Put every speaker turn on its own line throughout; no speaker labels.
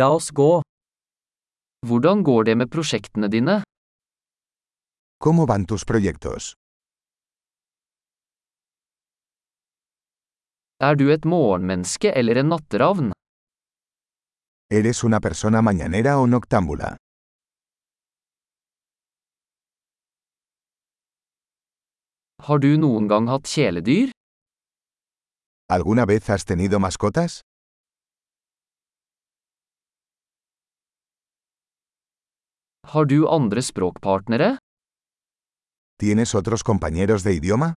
La oss gå. Hvordan går det med prosjektene dine?
¿Cómo van tus proyectos?
Er du et morgenmenneske eller en natteravn?
¿Eres una persona mañanera o noctámbula?
Har du noen gang hatt kjæledyr?
¿Alguna vez has tenido mascotas?
Har du andre språkpartnere?
¿Tienes otros compañeros de idioma?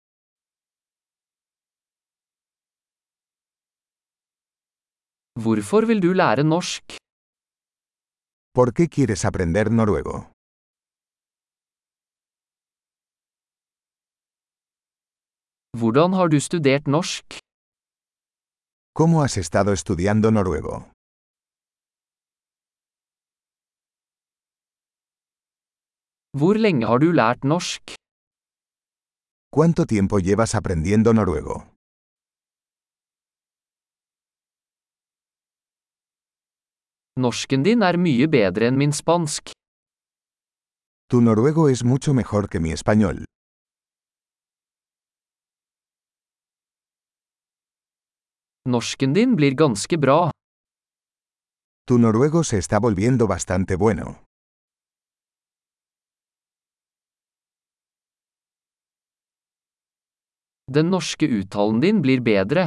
Hvorfor vil du lære norsk?
¿Por qué quieres aprender noruego?
Hvordan har du studert norsk?
¿Cómo has estado estudiando noruego?
Hvor lenge har du lært norsk?
¿Cuánto tiempo llevas aprendiendo noruego?
Norsken din er mye bedre enn min spansk.
Tu noruego es mucho mejor que mi español.
Norsken din blir ganske bra.
Tu noruego se está volviendo bastante bueno.
Den norske uttalen din blir bedre.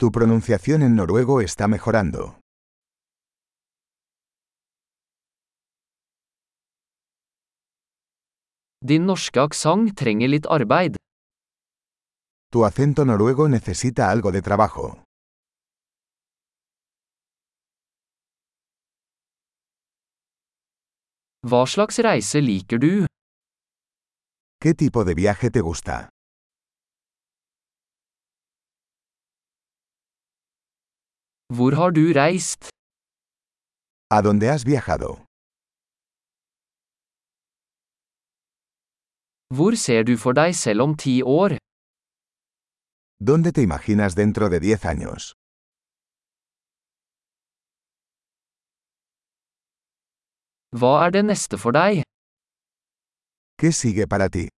Tu pronunciación en noruego está mejorando.
Din norske aksang trenger litt arbeid.
Tu acento noruego necesita algo de trabajo.
Hva slags reise liker du?
¿Qué tipo de viaje te gusta?
Hvor har du reist?
¿A dónde has viajado?
Hvor ser du for deg selv om ti år?
¿Dónde te imaginas dentro de 10 años?
Hva er det neste for deg?
¿Qué sigue para ti?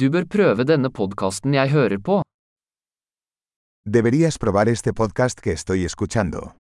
Du bør prøve denne podkasten jeg hører på.
Deberías probar este podcast que estoy escuchando.